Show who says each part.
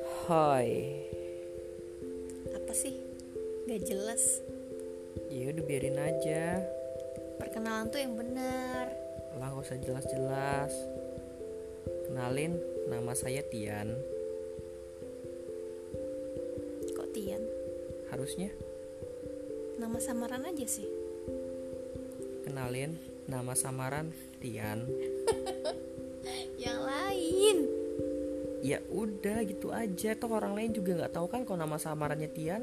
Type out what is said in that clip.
Speaker 1: Ahoy
Speaker 2: apa sih gak jelas
Speaker 1: Ya udah biarin aja
Speaker 2: perkenalan tuh yang benar
Speaker 1: Lah gak usah jelas-jelas Kenalin, nama saya Tian
Speaker 2: kok Tian
Speaker 1: Harusnya
Speaker 2: nama samaran aja sih
Speaker 1: kenalin nama samaran Tian
Speaker 2: yang lain
Speaker 1: Ya udah gitu aja Toh orang lain juga gak tahu kan kalau nama samarannya Tian